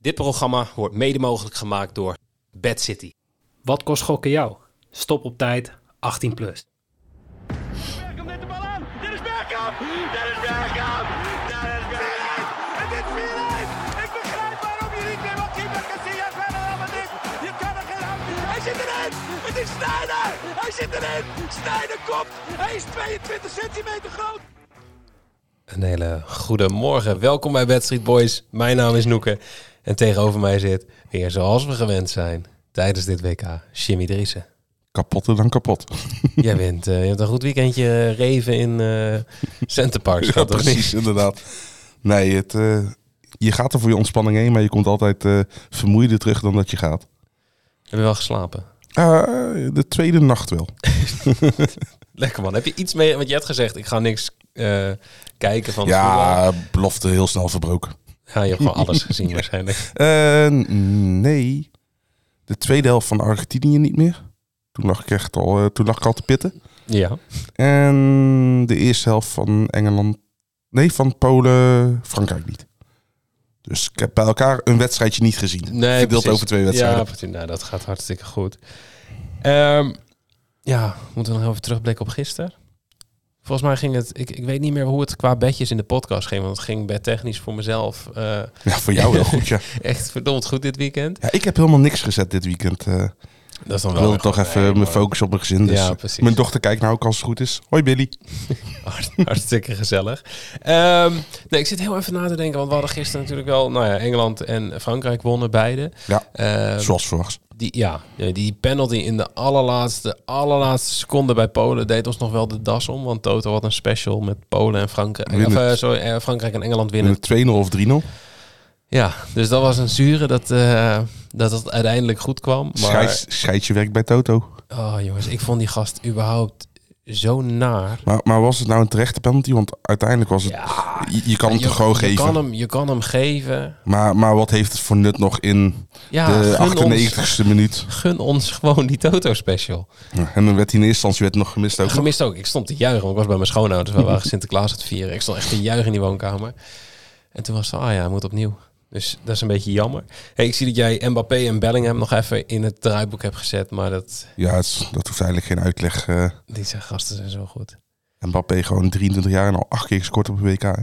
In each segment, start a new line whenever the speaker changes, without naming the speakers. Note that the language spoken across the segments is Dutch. Dit programma wordt mede mogelijk gemaakt door Bad City.
Wat kost gokken jou? Stop op tijd, 18 plus.
Bergkamp neemt de bal aan. Dit is Bergkamp. Dit is Bergkamp. Dit is Bergkamp. Het is 4-1. Ik begrijp waarom je niet meer wat keeper Casillas bij Real Madrid. Je kan er geen hand in. Hij zit erin. Het is Sneijder. Hij zit erin. Sneijder komt. Hij is 22 centimeter groot.
Een hele goede morgen. Welkom bij Bad Street Boys. Mijn naam is Noeke. En tegenover mij zit, weer zoals we gewend zijn, tijdens dit WK, Jimmy Driessen.
kapotter dan kapot.
Jij bent, eh, je hebt een goed weekendje reven in eh Centerpark.
Ja, precies, inderdaad. Nee, het, eh, je gaat er voor je ontspanning heen, maar je komt altijd eh vermoeider terug dan dat je gaat.
Heb je wel geslapen?
Ah, de tweede nacht wel.
Lekker man. Heb je iets mee? Want je hebt gezegd, ik ga niks eh, kijken van voetbal.
Ja, belofte heel snel verbroken.
Ja, je hebt gewoon alles gezien waarschijnlijk.
Eh, nee, de tweede helft van Argentinië niet meer. Toen lag ik echt al, eh, toen lag ik al te pitten.
Ja.
En de eerste helft van Engeland, nee, van Polen, Frankrijk niet. Dus ik heb bij elkaar een wedstrijdje niet gezien.
Nee,
Verdeeld
precies.
over twee wedstrijden.
Ja, precies. Nou, dat gaat hartstikke goed. Ehm, ja, moeten we nog even terugblikken op gisteren? Volgens mij ging het... Ik, ik weet niet meer hoe het qua bedjes in de podcast ging. Want het ging bedtechnisch voor mezelf eh,
Ja, voor jou heel goed, ja.
echt verdomd goed dit weekend. Oh,
Ja, ik heb helemaal niks gezet dit weekend. eh.
Dat is dan
ik
wel
wilde
weer
toch
goed.
even
Nee,
mijn
maar
focus op mijn gezin. Dus
Ja,
eh,
precies.
Mijn dochter kijkt nou ook als het goed is. Hoi Billy.
hart- Hartstikke gezellig. Ehm, nee, ik zit heel even na te denken. Want we hadden gisteren natuurlijk wel... Nou ja, Engeland en Frankrijk wonnen beide.
Ja,
Ehm,
zoals verwacht.
Die, ja, ja, die penalty in de allerlaatste, allerlaatste seconde bij Polen deed ons nog wel de das om. Want Toto had een special met Polen en Frankrijk. Of,
Winnen.
eh, sorry, eh, Frankrijk en Engeland
In
winnen.
de 2-0 of 3-0.
Ja, dus dat was een zure dat, eh, dat het uiteindelijk goed kwam. Maar,
Scheids- Scheid je werk bij Toto.
Oh jongens, ik vond die gast überhaupt zo naar.
Maar, maar was het nou een terechte penalty? Want uiteindelijk was het... je, je kan hem toch gewoon
je
geven.
Kan hem, je kan hem geven.
Maar, maar wat heeft het voor nut nog in
Ja,
de
gun, ons,
98ste minuut?
gun ons gewoon die Toto special.
Ja, En dan werd hij in eerste instantie werd nog gemist ook.
Gemist ook. Ik stond te juichen, want ik was bij mijn schoonouders. We waren Sinterklaas aan het vieren. Ik stond echt te juichen in die woonkamer. En toen was het, ah ja, hij moet opnieuw. Dus dat is een beetje jammer. Hey, ik zie dat jij Mbappé en Bellingham nog even in het draaiboek hebt gezet. Maar dat,
Ja, het is- dat hoeft eigenlijk geen uitleg. eh
die zijn gasten zijn zo goed.
Mbappé gewoon 23 jaar en al acht keer gescoord op een WK. Hè?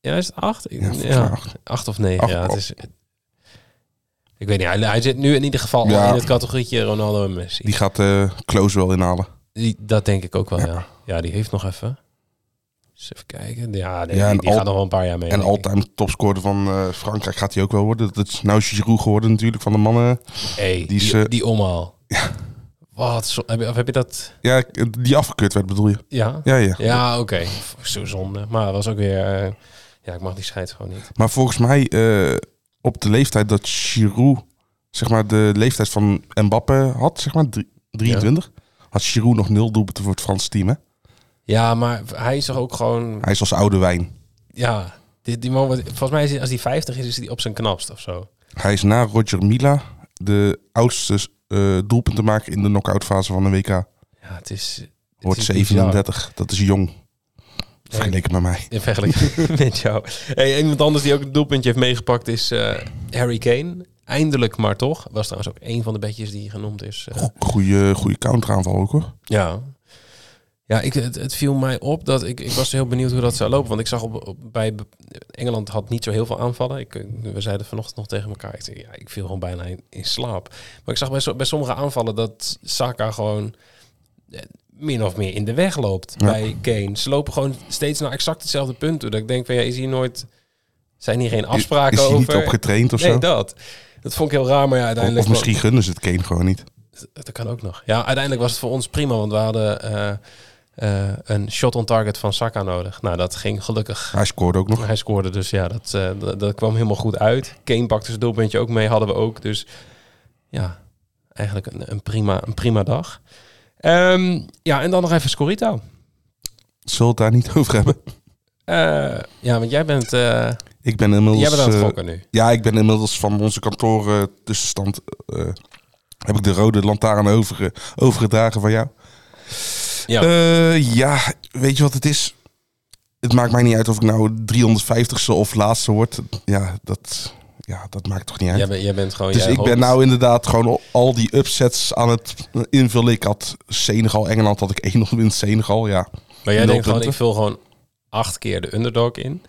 Ja, is het acht?
Ja,
Ja,
volgens mij acht.
acht of negen.
Acht,
ja, het is, ik weet niet, hij, hij zit nu in ieder geval al
Ja.
in het categorietje Ronaldo en Messi.
Die gaat eh Close wel inhalen.
Die, dat denk ik ook wel, ja. Ja, die heeft nog even. Dus even kijken. Ja, nee, die,
Ja, en
die
al-
gaat nog wel een paar jaar mee.
En
denk ik.
all-time topscorer van eh, Frankrijk gaat hij ook wel worden. Dat is nou Giroud geworden natuurlijk van de mannen.
Hey, die,
Die is,
die,
eh,
omhaal. Wat? zo- Heb je, of heb je dat?
Ja, ik- die afgekeurd werd bedoel je?
Ja? Ja,
Ja, ja.
oké. Pff, Zo zonde. Maar dat was ook weer... eh, ja, ik mag die scheids gewoon niet.
Maar volgens mij eh, op de leeftijd dat Giroud, zeg maar de leeftijd van Mbappé had, zeg maar drie- 23, had Giroud nog nul doelpunten voor het Franse team. Hè?
Ja, maar hij is toch ook gewoon...
Hij is als oude wijn.
Ja, die, die man... wordt- Volgens mij is hij, als hij 50 is, is hij op zijn knapst of zo.
Hij is na Roger Mila de oudste eh doelpuntenmaker in de knock-out fase van de WK.
Ja, het is... het
Wordt
is
37, dat is jong. Vergeleken met mij.
bizar. In vergelijking met jou. Hey, iemand anders die ook een doelpuntje heeft meegepakt is eh, Harry Kane. Eindelijk maar toch. Was trouwens ook een van de bedjes die genoemd is. eh,
Goede, goede counteraanval ook hoor.
Ja. Ja, ik, het, het viel mij op dat ik, ik was heel benieuwd hoe dat zou lopen. Want ik zag op, op- bij Engeland had niet zo heel veel aanvallen. Ik, eh, we zeiden vanochtend nog tegen elkaar. Ik, zei, ja, ik viel gewoon bijna in, in slaap. Maar ik zag bij, so- bij sommige aanvallen dat Saka gewoon eh, min of meer in de weg loopt
Ja.
bij Kane. Ze lopen gewoon steeds naar exact hetzelfde punt toe. Dat ik denk van ja, is hier nooit. Zijn hier geen afspraken
is, is hij
over?
niet opgetraind of
nee,
zo?
dat. Dat vond ik heel raar, maar ja,
Of-
uiteindelijk.
Of misschien gunnen ze het Kane gewoon niet.
Dat kan ook nog. Ja, uiteindelijk was het voor ons prima, want we hadden eh, eh, een shot on target van Saka nodig. Nou, dat ging gelukkig.
Hij scoorde ook nog.
Hij scoorde, dus ja, dat, eh, dat, dat kwam helemaal goed uit. Kane pakte zijn doelpuntje ook mee, hadden we ook. Dus ja, eigenlijk een, een, prima, een prima dag. Ehm, ja, en dan nog even Scorito.
Zullen we het daar niet over hebben?
Eh, ja, want jij bent, eh,
Ik ben inmiddels...
jij bent aan het
eh,
gokken nu.
ja, ik ben inmiddels van onze kantoren tussenstand... eh, heb ik de rode lantaarn overge- overgedragen van jou?
Ja.
Eh, ja, weet je wat het is? Het maakt mij niet uit of ik nou 350ste of laatste word. Ja, dat... ja, dat maakt toch niet uit.
Jij, bent- jij bent gewoon...
dus
jij
ik ben
hoopt-
nou inderdaad gewoon al die upsets aan het invullen. Ik had Senegal, Engeland had ik 1-0 winst Senegal, ja.
Maar jij
nul
denkt gewoon, ik
punten.
vul gewoon acht keer de underdog in.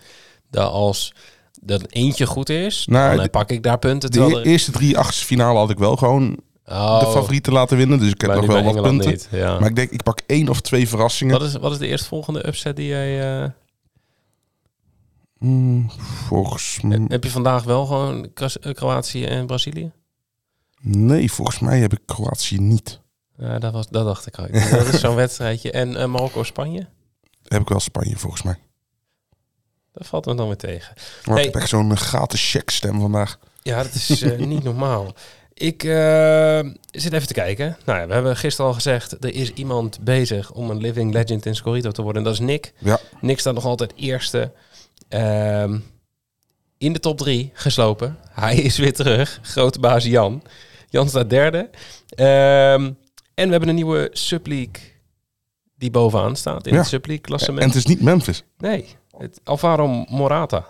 Dat als dat eentje goed is,
Nou,
dan
de-
pak ik daar punten.
De
Terwijl
e- eerste drie achtste finale had ik wel gewoon
Oh,
de favorieten laten winnen. Dus ik heb
maar
nog
nu
wel
bij
wat
Engeland
punten.
niet, ja.
Maar ik denk, ik pak één of twee verrassingen.
wat, is, wat is de eerstvolgende upset die jij... eh,
Hmm, volgens mij...
Heb je vandaag wel gewoon Kras- eh, Kroatië en Brazilië?
Nee, volgens mij heb ik Kroatië niet.
Ja, dat, was, dat dacht ik al. Dat is zo'n wedstrijdje. En eh, Marokko-Spanje?
Heb ik wel Spanje, volgens mij.
Dat valt me dan weer tegen.
Maar
Hey.
ik heb echt zo'n eh, gaten checkstem vandaag.
Ja, dat is eh, niet normaal. Ik eh, zit even te kijken. Nou ja, we hebben gisteren al gezegd, er is iemand bezig om een living legend in Scorito te worden. En dat is Nick.
Ja.
Nick staat nog altijd eerste. Ehm, in de top drie geslopen. Hij is weer terug. Grote baas Jan. Jan staat derde. Ehm, en we hebben een nieuwe subleague die bovenaan staat in
Ja.
het subleague
En
klassement.
het is niet Memphis.
Nee, het, Alvaro Morata.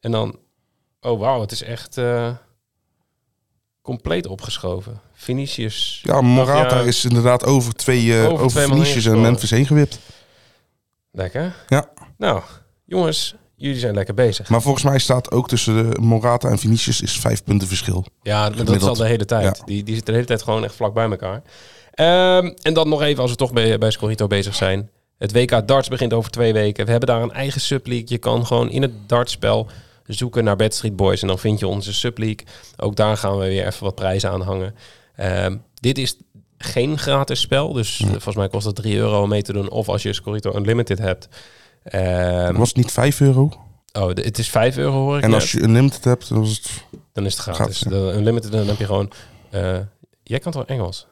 En dan, oh wauw, het is echt eh, compleet opgeschoven. Vinicius.
Ja, Morata
Ja.
is inderdaad over twee, eh,
Over
over
twee man
Venetiërs en
ingescoord.
Memphis heen gewipt.
Lekker.
Ja.
Nou, jongens, jullie zijn lekker bezig.
Maar volgens mij staat ook tussen eh, Morata en Vinicius is vijf punten verschil.
Ja, maar dat is al
Gemiddeld.
de hele tijd.
Ja.
Die, die zitten de hele tijd gewoon echt vlak bij elkaar. Ehm, en dan nog even, als we toch bij, bij Scorito bezig zijn. Het WK darts begint over twee weken. We hebben daar een eigen subleague. Je kan gewoon in het dartspel zoeken naar Bad Street Boys. En dan vind je onze subleague. Ook daar gaan we weer even wat prijzen aan hangen. Ehm, dit is geen gratis spel. Dus eh, volgens mij kost het 3 euro om mee te doen. Of als je Scorito Unlimited hebt. Ehm,
Was het niet vijf euro?
oh, de- het is 5 euro hoor ik
En
net.
als je Unlimited hebt, dan was het...
Dan is het gratis.
Gratis, ja.
Dan, unlimited, dan heb je gewoon... eh, jij kan toch Engels?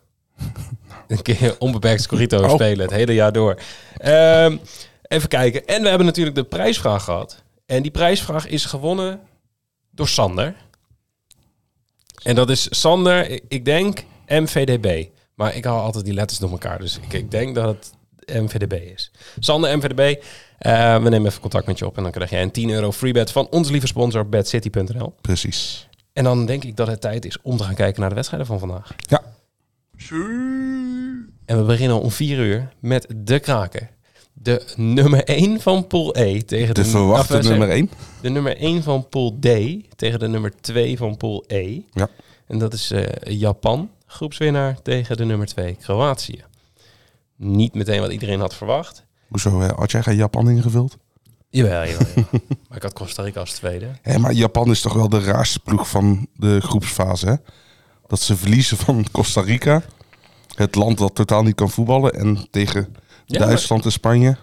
Een keer onbeperkt Scorito
Oh.
spelen, het hele jaar door. Ehm, even kijken. En we hebben natuurlijk de prijsvraag gehad. En die prijsvraag is gewonnen door Sander. En dat is Sander, ik- ik denk MVDB. Maar ik haal altijd die letters door elkaar. Dus ik, ik denk dat het MVDB is. Sander, MVDB. eh, we nemen even contact met je op. En dan krijg jij een 10 euro freebet van onze lieve sponsor bedcity.nl.
Precies.
En dan denk ik dat het tijd is om te gaan kijken naar de wedstrijden van vandaag.
Ja.
En we beginnen om 4 uur met de kraken. De nummer 1 van pool E tegen de,
De verwachte
of, eh,
nummer één.
De nummer 1 van pool D tegen de nummer 2 van pool E.
Ja.
En dat is eh, Japan, groepswinnaar tegen de nummer 2 Kroatië. Niet meteen wat iedereen had verwacht.
Hoezo, eh, had jij geen Japan ingevuld?
Jawel, jawel, jawel. maar ik had Costa Rica als tweede.
Hé, maar Japan is toch wel de raarste ploeg van de groepsfase, hè? Dat ze verliezen van Costa Rica, het land dat totaal niet kan voetballen, en tegen
Ja,
Duitsland en Spanje.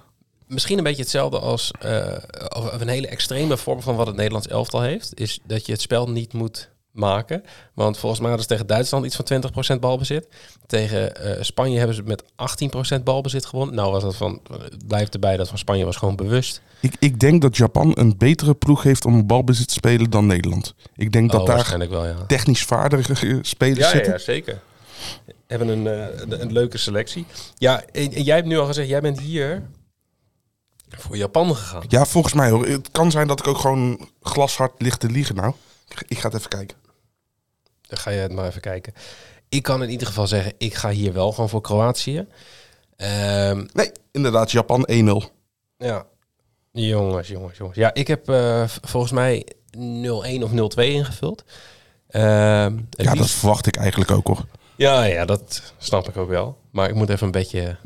misschien een beetje hetzelfde als eh, of een hele extreme vorm van wat het Nederlands elftal heeft, is dat je het spel niet moet maken. Want volgens mij hadden ze tegen Duitsland iets van 20% balbezit. Tegen eh, Spanje hebben ze met 18% balbezit gewonnen. Nou was dat van, blijft erbij dat van Spanje was gewoon bewust.
Ik, ik denk dat Japan een betere ploeg heeft om balbezit te spelen dan Nederland. Ik denk dat
oh,
daar
waarschijnlijk wel, ja.
technisch vaardige spelers
Ja, ja,
zitten.
ja, zeker. Hebben een, eh, een, een leuke selectie. Ja, en, en jij hebt nu al gezegd, jij bent hier voor Japan gegaan.
Ja, volgens mij hoor. Het kan zijn dat ik ook gewoon glashard ligt te liegen nou. Ik- Ik ga het even kijken.
Dan ga je het maar even kijken. Ik kan in ieder geval zeggen, ik ga hier wel gewoon voor Kroatië. Ehm,
Nee, inderdaad, Japan 1-0.
ja, jongens, jongens, jongens. Ja, ik heb eh, v- volgens mij 0-1 of 0-2 ingevuld. Ehm, het
Ja, dat
liefst-
verwacht ik eigenlijk ook hoor.
ja, ja, dat snap ik ook wel. Maar ik moet even een beetje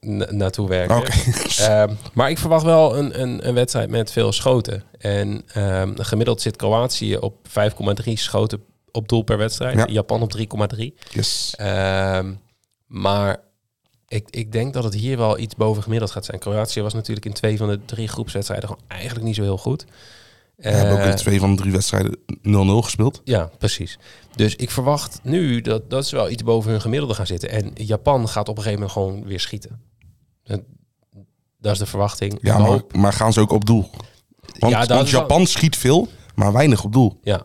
na- naartoe werken.
Oké.
Ehm, maar ik verwacht wel een, een, een wedstrijd met veel schoten. En ehm, gemiddeld zit Kroatië op 5,3 schoten op doel per wedstrijd.
Ja.
Japan op 3,3.
Yes.
Ehm, maar ik, ik denk dat het hier wel iets boven gemiddeld gaat zijn. Kroatië was natuurlijk in twee van de drie groepswedstrijden gewoon eigenlijk niet zo heel goed.
We hebben ook
Eh,
in twee van de drie wedstrijden 0-0 gespeeld.
ja, precies. Dus ik verwacht nu dat, dat ze wel iets boven hun gemiddelde gaan zitten. En Japan gaat op een gegeven moment gewoon weer schieten. Dat, dat is de verwachting.
Ja,
Ik
maar,
hoop-
maar gaan ze ook op doel? Want,
Ja, dat
want
is wel-
Japan schiet veel, maar weinig op doel.
ja.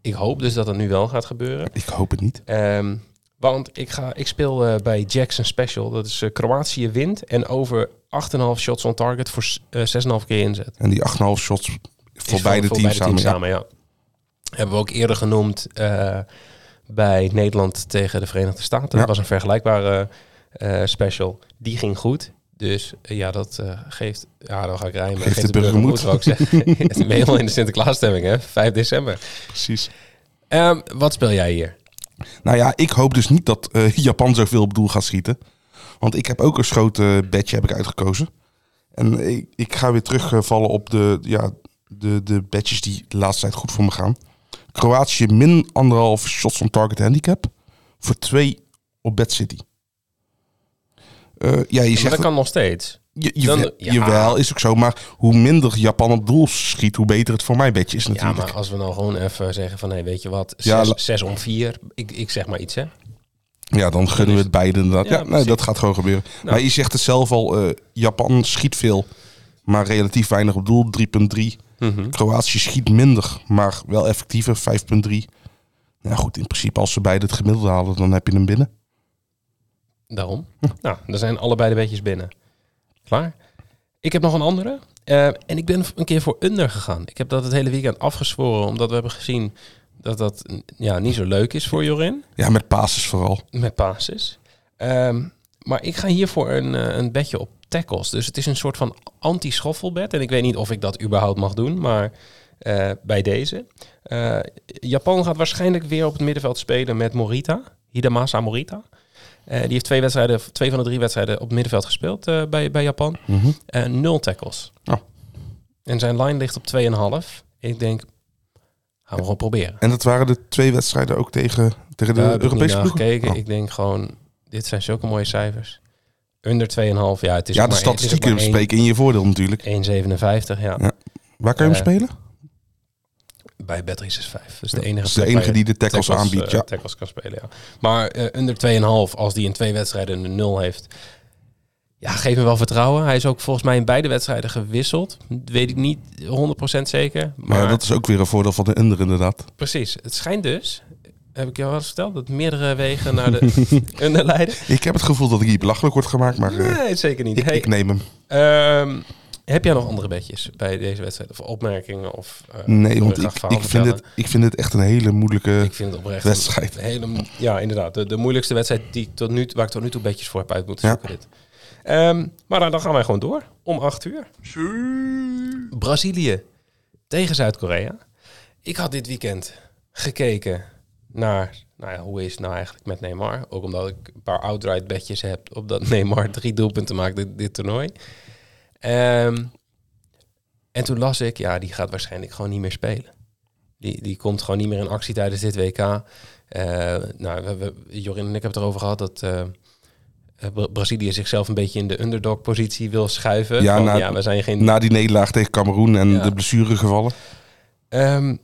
Ik hoop dus dat dat nu wel gaat gebeuren.
Ik hoop het niet.
Ehm, want ik, ga, ik speel eh, bij Jackson Special. Dat is eh, Kroatië wint en over 8,5 shots on target voor s- eh, 6,5 keer inzet.
En die 8,5 shots voor beide teams samen. ja.
ja. Hebben we ook eerder genoemd eh, bij Nederland tegen de Verenigde Staten.
Ja.
Dat was een vergelijkbare eh, special. Die ging goed. Dus eh, ja, dat eh, geeft... Ja, dan ga ik rijmen.
Geeft de burger moed.
wou ik zeggen. Het is helemaal in de Sinterklaasstemming, hè? 5 december.
Precies.
Ehm, wat speel jij hier?
Nou ja, ik hoop dus niet dat eh, Japan zoveel op doel gaat schieten. Want ik heb ook een schoten bedje heb ik uitgekozen. En ik, ik ga weer terugvallen op de, ja, de, de badges die de laatste tijd goed voor me gaan. Kroatië min anderhalf shots on target handicap. Voor twee op Bad City. Eh, ja, je
Maar
zegt...
dat kan nog steeds.
Je, je,
Dan- ja.
Jawel, is ook zo. Maar hoe minder Japan op doel schiet, hoe beter het voor mijn bedje is
Ja,
natuurlijk.
maar als we nou gewoon even zeggen van... Hé, weet je wat?
Ja,
Zes,
la-
zes om vier. Ik, ik zeg maar iets, hè?
Ja, dan gunnen we het beide inderdaad.
Ja,
Ja, nee,
precies. Nou.
dat gaat gewoon gebeuren. Maar je zegt het zelf al, eh, Japan schiet veel, maar relatief weinig op doel. 3,3. Kroatië schiet minder, maar wel effectiever. 5,3. Nou goed, in principe als ze beide het gemiddelde halen, dan heb je hem binnen.
Daarom. Nou, dan zijn allebei de beetjes binnen. Klaar. Ik heb nog een andere. Eh, en ik ben een keer voor under gegaan. Ik heb dat het hele weekend afgezworen, omdat we hebben gezien dat dat mm, ja, niet zo leuk is voor Jorin.
Ja, met pases vooral.
Met basis. Ehm, maar ik ga hiervoor een, eh, een bedje op tackles. Dus het is een soort van anti-schoffelbed. En ik weet niet of ik dat überhaupt mag doen, maar eh, bij deze. Eh, Japan gaat waarschijnlijk weer op het middenveld spelen met Morita. Hidamasa Morita. Eh, die heeft twee, wedstrijden, twee van de drie wedstrijden op het middenveld gespeeld eh, bij, bij Japan.
Mhm.
Eh, nul tackles.
Oh.
En zijn line ligt op 2,5. Ik denk, gaan we gewoon proberen.
En dat waren de twee wedstrijden ook tegen, tegen de
Daar heb ik niet
Europese
naar
ploegen?
gekeken.
Oh.
Ik denk gewoon, dit zijn zulke mooie cijfers. Onder 2,5, ja, het is
Ja,
ook
de
maar één- het is ook
statistieken
maar één-
spreken in je voordeel natuurlijk.
1,57, ja.
Ja. Waar kan je hem
Eh,
spelen?
Bij Batteries is 5. Dus de
Ja,
enige,
dat is de
plek
enige
waar je
die de tackles aanbiedt,
eh,
ja.
tackles kan spelen, ja. Maar eh onder 2,5, als die in twee wedstrijden een 0 heeft... Ja, geef me wel vertrouwen. Hij is ook volgens mij in beide wedstrijden gewisseld. Weet ik niet 100% zeker. Maar
Maar dat is ook weer een voordeel van de under inderdaad.
precies. Het schijnt dus, heb ik jou al eens verteld, dat meerdere wegen naar de under leiden.
Ik heb het gevoel dat ik hier belachelijk word gemaakt, maar eh,
Nee, zeker niet.
ik,
Hey,
ik neem hem.
Ehm, heb jij nog andere bedjes bij deze wedstrijd? Of opmerkingen? Of, eh, wil je
Nee, want
graag
ik,
verhaal
ik, vind
vertellen?
dit, ik vind dit echt een hele moeilijke...
ik vind het oprecht
wedstrijd.
Een hele, mo- ja, inderdaad. De, de moeilijkste wedstrijd die ik tot nu, waar ik tot nu toe bedjes voor heb uit moeten
Ja.
zoeken. Dit. Ehm, maar dan, dan gaan wij gewoon door. Om acht uur. Brazilië tegen Zuid-Korea. Ik had dit weekend gekeken naar... Nou ja, hoe is het nou eigenlijk met Neymar? Ook omdat ik een paar outright bedjes heb... op dat Neymar drie doelpunten maakt dit, dit toernooi. Ehm, en toen las ik... Ja, die gaat waarschijnlijk gewoon niet meer spelen. Die, die komt gewoon niet meer in actie tijdens dit WK. Eh, nou, we, we- Jorin en ik hebben het erover gehad dat eh, eh, Bra- Brazilië zichzelf een beetje in de underdog-positie wil schuiven.
Ja,
Van,
na-
ja we zijn geen.
Na die nederlaag tegen Cameroen en
Ja.
de blessuregevallen.
Ehm,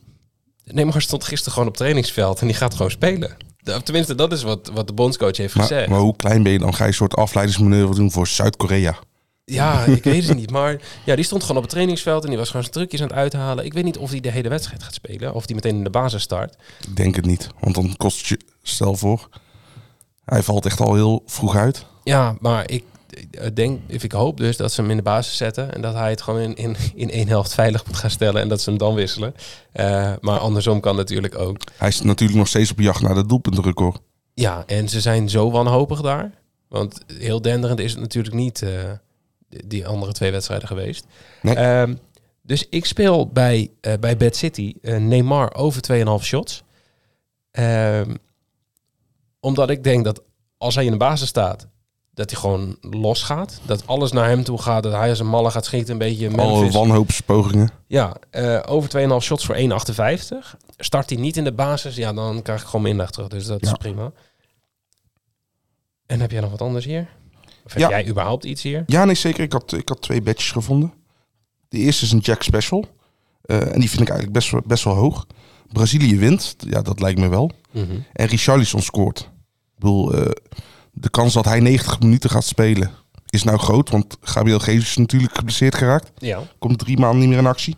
Neymar stond gisteren gewoon op trainingsveld en die gaat gewoon spelen. Da- Tenminste, dat is wat, wat de bondscoach heeft
Maar,
gezegd.
maar hoe klein ben je dan? Ga je een soort afleidingsmanoeuvre doen voor Zuid-Korea?
Ja, ik weet het niet. Maar ja, die stond gewoon op het trainingsveld en die was gewoon zijn trucjes aan het uithalen. Ik weet niet of hij de hele wedstrijd gaat spelen of die meteen in de basis start.
Ik denk het niet, want dan kost het je... Stel voor, hij valt echt al heel vroeg uit.
Ja, maar ik eh, denk, of ik hoop dus dat ze hem in de basis zetten en dat hij het gewoon in, in, in één helft veilig moet gaan stellen en dat ze hem dan wisselen. Eh, maar andersom kan natuurlijk ook.
Hij is natuurlijk nog steeds op jacht naar dat doelpuntrecord.
Ja, en ze zijn zo wanhopig daar. Want heel denderend is het natuurlijk niet eh, die- die andere twee wedstrijden geweest.
Nee.
Ehm, dus ik speel bij, eh bij Bad City eh, Neymar over 2,5 shots. Ehm, omdat ik denk dat als hij in de basis staat, dat hij gewoon losgaat. Dat alles naar hem toe gaat. Dat hij als een malle gaat schieten. Een beetje
Alle
Memphis.
wanhoopspogingen.
Ja, eh, over 2,5 shots voor 1,58. Start hij niet in de basis, ja, dan krijg ik gewoon mijn inleg terug. Dus dat is
Ja.
prima. En heb jij nog wat anders hier? Of heb
Ja.
jij überhaupt iets hier?
Ja, nee, zeker. Ik had, ik had twee badges gevonden. De eerste is een Jack Special. Eh, en die vind ik eigenlijk best, wel- best wel hoog. Brazilië wint. Ja, dat lijkt me wel.
Mhm.
En Richarlison scoort. Ik bedoel, eh, de kans dat hij 90 minuten gaat spelen is nou groot. Want Gabriel Jesus is natuurlijk geblesseerd geraakt.
Ja.
Komt drie maanden niet meer in actie.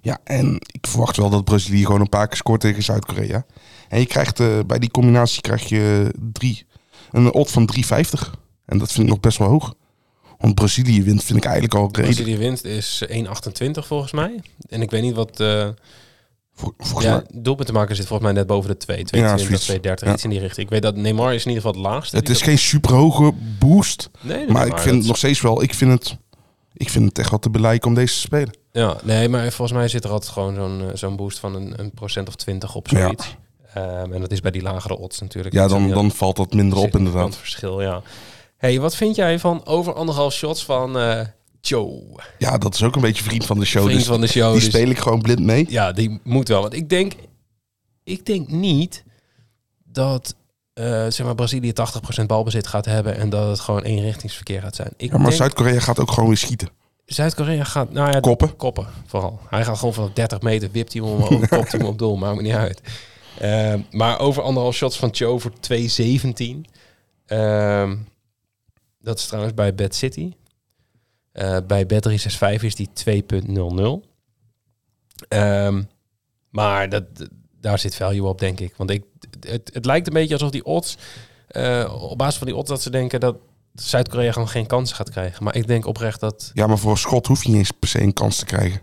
Ja, en ik verwacht wel dat Brazilië gewoon een paar keer scoort tegen Zuid-Korea. En je krijgt eh, bij die combinatie krijg je drie, een odd van 3,50. En dat vind ik nog best wel hoog. Want Brazilië wint vind ik eigenlijk al redelijk.
Brazilië winst is 1,28 volgens mij. En ik weet niet wat, eh,
Vol- volgens
Ja,
mij.
doelpunt te maken zit volgens mij net boven de 2. 2,20,
Ja,
2,30,
zoiets. Ja.
iets in die richting. Ik weet dat Neymar is in ieder geval het laagste.
Het
die
is
dat-
geen superhoge boost.
Nee, nee,
Maar ik vind
dat-
het nog steeds wel. Ik vind het, ik vind het echt wat te belijken om deze te spelen.
Ja, nee, maar volgens mij zit er altijd gewoon zo'n eh, zo'n boost van een, een procent of 20 op
Ja.
zoiets. Ehm, en dat is bij die lagere odds natuurlijk.
Ja,
niet zo'n
dan,
heel
dan valt dat minder op
significant
inderdaad.
verschil, ja. hey, wat vind jij van over anderhalf shots van eh, Joe?
Ja, dat is ook een beetje vriend van de show.
Vriend
dus
van de show.
die
dus-
speel ik gewoon blind mee.
ja, die moet wel. Want ik denk, ik denk niet dat eh, zeg maar Brazilië 80% balbezit gaat hebben en dat het gewoon eenrichtingsverkeer gaat zijn. Ik
Ja, maar
denk-
Zuid-Korea gaat ook gewoon weer schieten.
Zuid-Korea gaat, nou ja,
Koppen.
koppen vooral. Hij gaat gewoon vanaf 30 meter, wipt hij hem omhoog, kopt hij hem op doel, maakt me niet uit. Ehm, maar over anderhalf shots van Cho voor 2.17. Ehm, dat is trouwens bij Bad City. Eh, bij Bad 365 is die 2.00. Ehm, maar dat, daar zit value op, denk ik. Want ik, het, het lijkt een beetje alsof die odds, eh, op basis van die odds, dat ze denken dat Zuid-Korea gewoon geen kansen gaat krijgen. Maar ik denk oprecht dat,
Ja, maar voor een schot hoef je niet eens per se een kans te krijgen.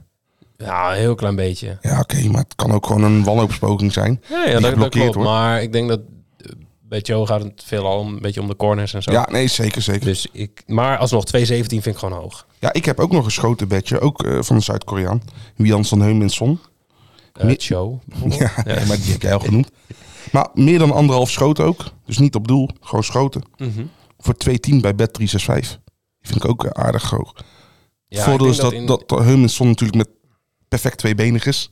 ja, een heel klein beetje.
Ja, oké, maar het kan ook gewoon een wanhoopspoging zijn.
Ja, ja dat, dat
geblokkeerd
klopt.
wordt.
Maar ik denk dat eh, bij Joe gaat het veelal een beetje om de corners en zo.
Ja, nee, zeker, zeker.
Dus ik, maar alsnog 2,17 vind ik gewoon hoog.
Ja, ik heb ook nog een schoten bedje, ook eh, van een Zuid-Koreaan. Wian Son Heuminson.
Eh
Nee.
Joe.
Oh, Ja, nee, maar die heb jij al genoemd. Maar meer dan anderhalf schoten ook. Dus niet op doel, gewoon schoten.
Mhm.
Voor 2-10 bij bet 365. Die vind ik ook eh, aardig hoog.
Ja,
voordeel
ik
is
denk
dat,
in-
dat, Heuminson natuurlijk met perfect tweebenig is.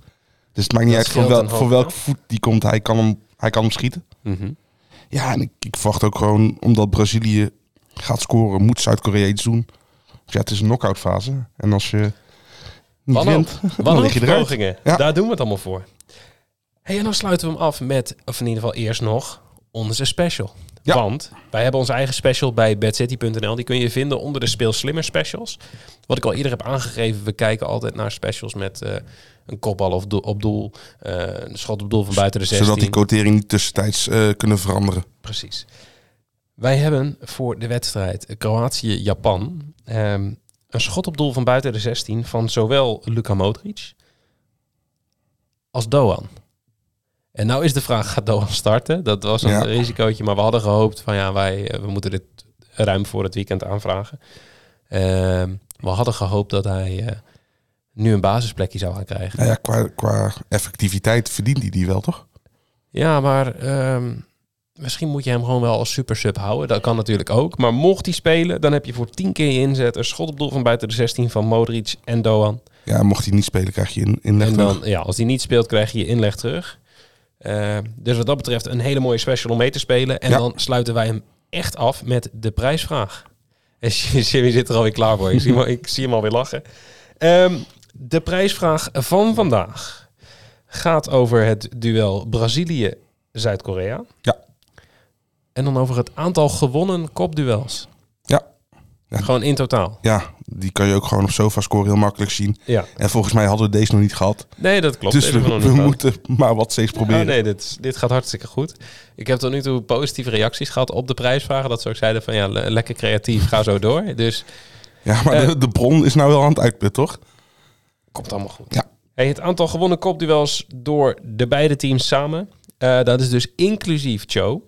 Dus het maakt niet
Dat
uit voor,
scheelt
wel,
een hoop,
voor welk
ja.
voet die komt. Hij kan hem, hij kan hem schieten.
Mhm.
Ja, en ik, ik verwacht ook gewoon, omdat Brazilië gaat scoren, moet Zuid-Korea iets doen. Dus ja, het is een knock-out fase. En als je niet
Wanhoop.
wint, dan lig je eruit.
Wanhoopspogingen.
Ja.
Daar doen we het allemaal voor. Hey, en dan sluiten we hem af met, of in ieder geval eerst nog, onze special.
Ja.
Want wij hebben onze eigen special bij bedcity.nl. Die kun je vinden onder de Speel Slimmer specials. Wat ik al eerder heb aangegeven, we kijken altijd naar specials met eh, een kopbal of doel- op doel. eh, een schot op doel van buiten de 16.
Zodat die quotering niet tussentijds eh, kunnen veranderen.
Precies. Wij hebben voor de wedstrijd Kroatië-Japan ehm, een schot op doel van buiten de 16 van zowel Luka Modric als Doan. En nou is de vraag, gaat Doan starten? Dat was een
Ja.
risicootje, maar we hadden gehoopt van ja, wij eh, we moeten dit ruim voor het weekend aanvragen. Ehm, we hadden gehoopt dat hij eh, nu een basisplekje zou gaan krijgen.
Nou ja, qua, qua effectiviteit verdient hij die wel, toch?
Ja, maar ehm, misschien moet je hem gewoon wel als super sub houden. Dat kan natuurlijk ook. Maar mocht hij spelen, dan heb je voor 10 keer je inzet een schot op doel van buiten de 16 van Modric en Doan.
Ja, mocht hij niet spelen, krijg je in, inleg
En
terug.
dan, ja, als hij niet speelt, krijg je je inleg terug. Eh, dus wat dat betreft een hele mooie special om mee te spelen. En
Ja.
dan sluiten wij hem echt af met de prijsvraag. En Jimmy zit er alweer klaar voor. Ik zie hem, al- ik zie hem alweer lachen. Ehm, de prijsvraag van vandaag gaat over het duel Brazilië-Zuid-Korea.
Ja.
En dan over het aantal gewonnen kopduels.
Ja. Ja.
Gewoon in totaal.
Ja, die kan je ook gewoon op SofaScore heel makkelijk zien.
Ja.
En volgens mij hadden we deze nog niet gehad.
Nee, dat klopt.
dus
Deze hebben nog
we,
niet
we
gehad.
moeten maar wat steeds proberen.
Ja, Oh, nee, dit, dit gaat hartstikke goed. Ik heb tot nu toe positieve reacties gehad op de prijsvragen. Dat ze ook zeiden van ja, le- lekker creatief, ga zo door. Dus
Ja, maar
Eh.
de, de bron is nou wel aan het uitputten, toch?
komt allemaal goed.
Ja.
Hey, het aantal gewonnen kopduels door de beide teams samen. eh, dat is dus inclusief Joe.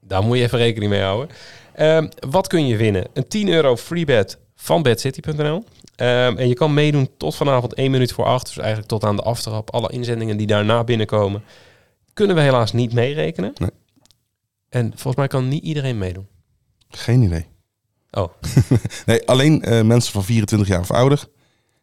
Daar moet je even rekening mee houden. Ehm, wat kun je winnen? Een 10 euro freebet van bedcity.nl. Ehm, en je kan meedoen tot vanavond 1 minuut voor 8. Dus eigenlijk tot aan de aftrap. Alle inzendingen die daarna binnenkomen... kunnen we helaas niet meerekenen.
Nee.
En volgens mij kan niet iedereen meedoen.
Geen idee.
Oh,
Nee, alleen eh, mensen van 24 jaar of ouder.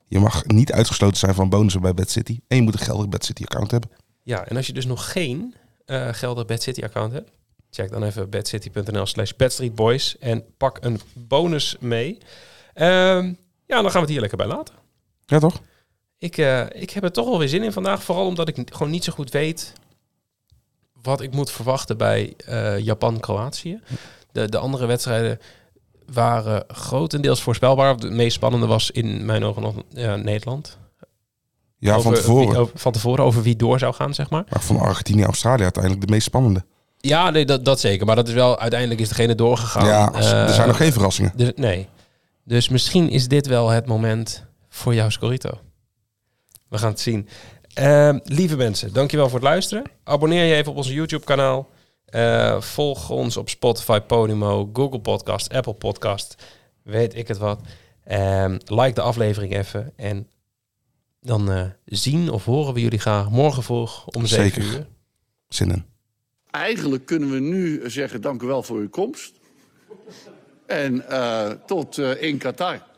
Je mag niet uitgesloten zijn van bonussen bij Bad City. En je moet een geldig Bad City account hebben.
ja. En als je dus nog geen eh geldig BadCity account hebt... check dan even badcity.nl slash badstreetboys... en pak een bonus mee. Ehm, ja, dan gaan we het hier lekker bij laten.
Ja, toch?
Ik, eh, ik heb er toch wel weer zin in vandaag. Vooral omdat ik n- gewoon niet zo goed weet wat ik moet verwachten bij eh, Japan-Kroatië. De, de andere wedstrijden waren grotendeels voorspelbaar. Het meest spannende was in mijn ogen nog ja, Nederland.
Ja, van
Over
tevoren.
wie- oh. over- van tevoren over wie door zou gaan, zeg maar.
Maar van Argentinië Australië uiteindelijk de meest spannende.
Ja, nee, dat, dat zeker. Maar dat is wel, uiteindelijk is degene doorgegaan. Eh,
ja, als- er zijn nog geen verrassingen.
Dus, nee. Dus misschien is dit wel het moment voor jouw Scorito. We gaan het zien. Ehm, lieve mensen, dankjewel voor het luisteren. Abonneer je even op ons YouTube-kanaal. Eh, volg ons op Spotify, Podimo, Google Podcast, Apple Podcast. Weet ik het wat. Ehm, like de aflevering even. En dan eh, zien of horen we jullie graag morgen vroeg om 7
Zeker.
uur.
Zin in.
Eigenlijk kunnen we nu zeggen: dank u wel voor uw komst. En eh, tot eh, in Qatar.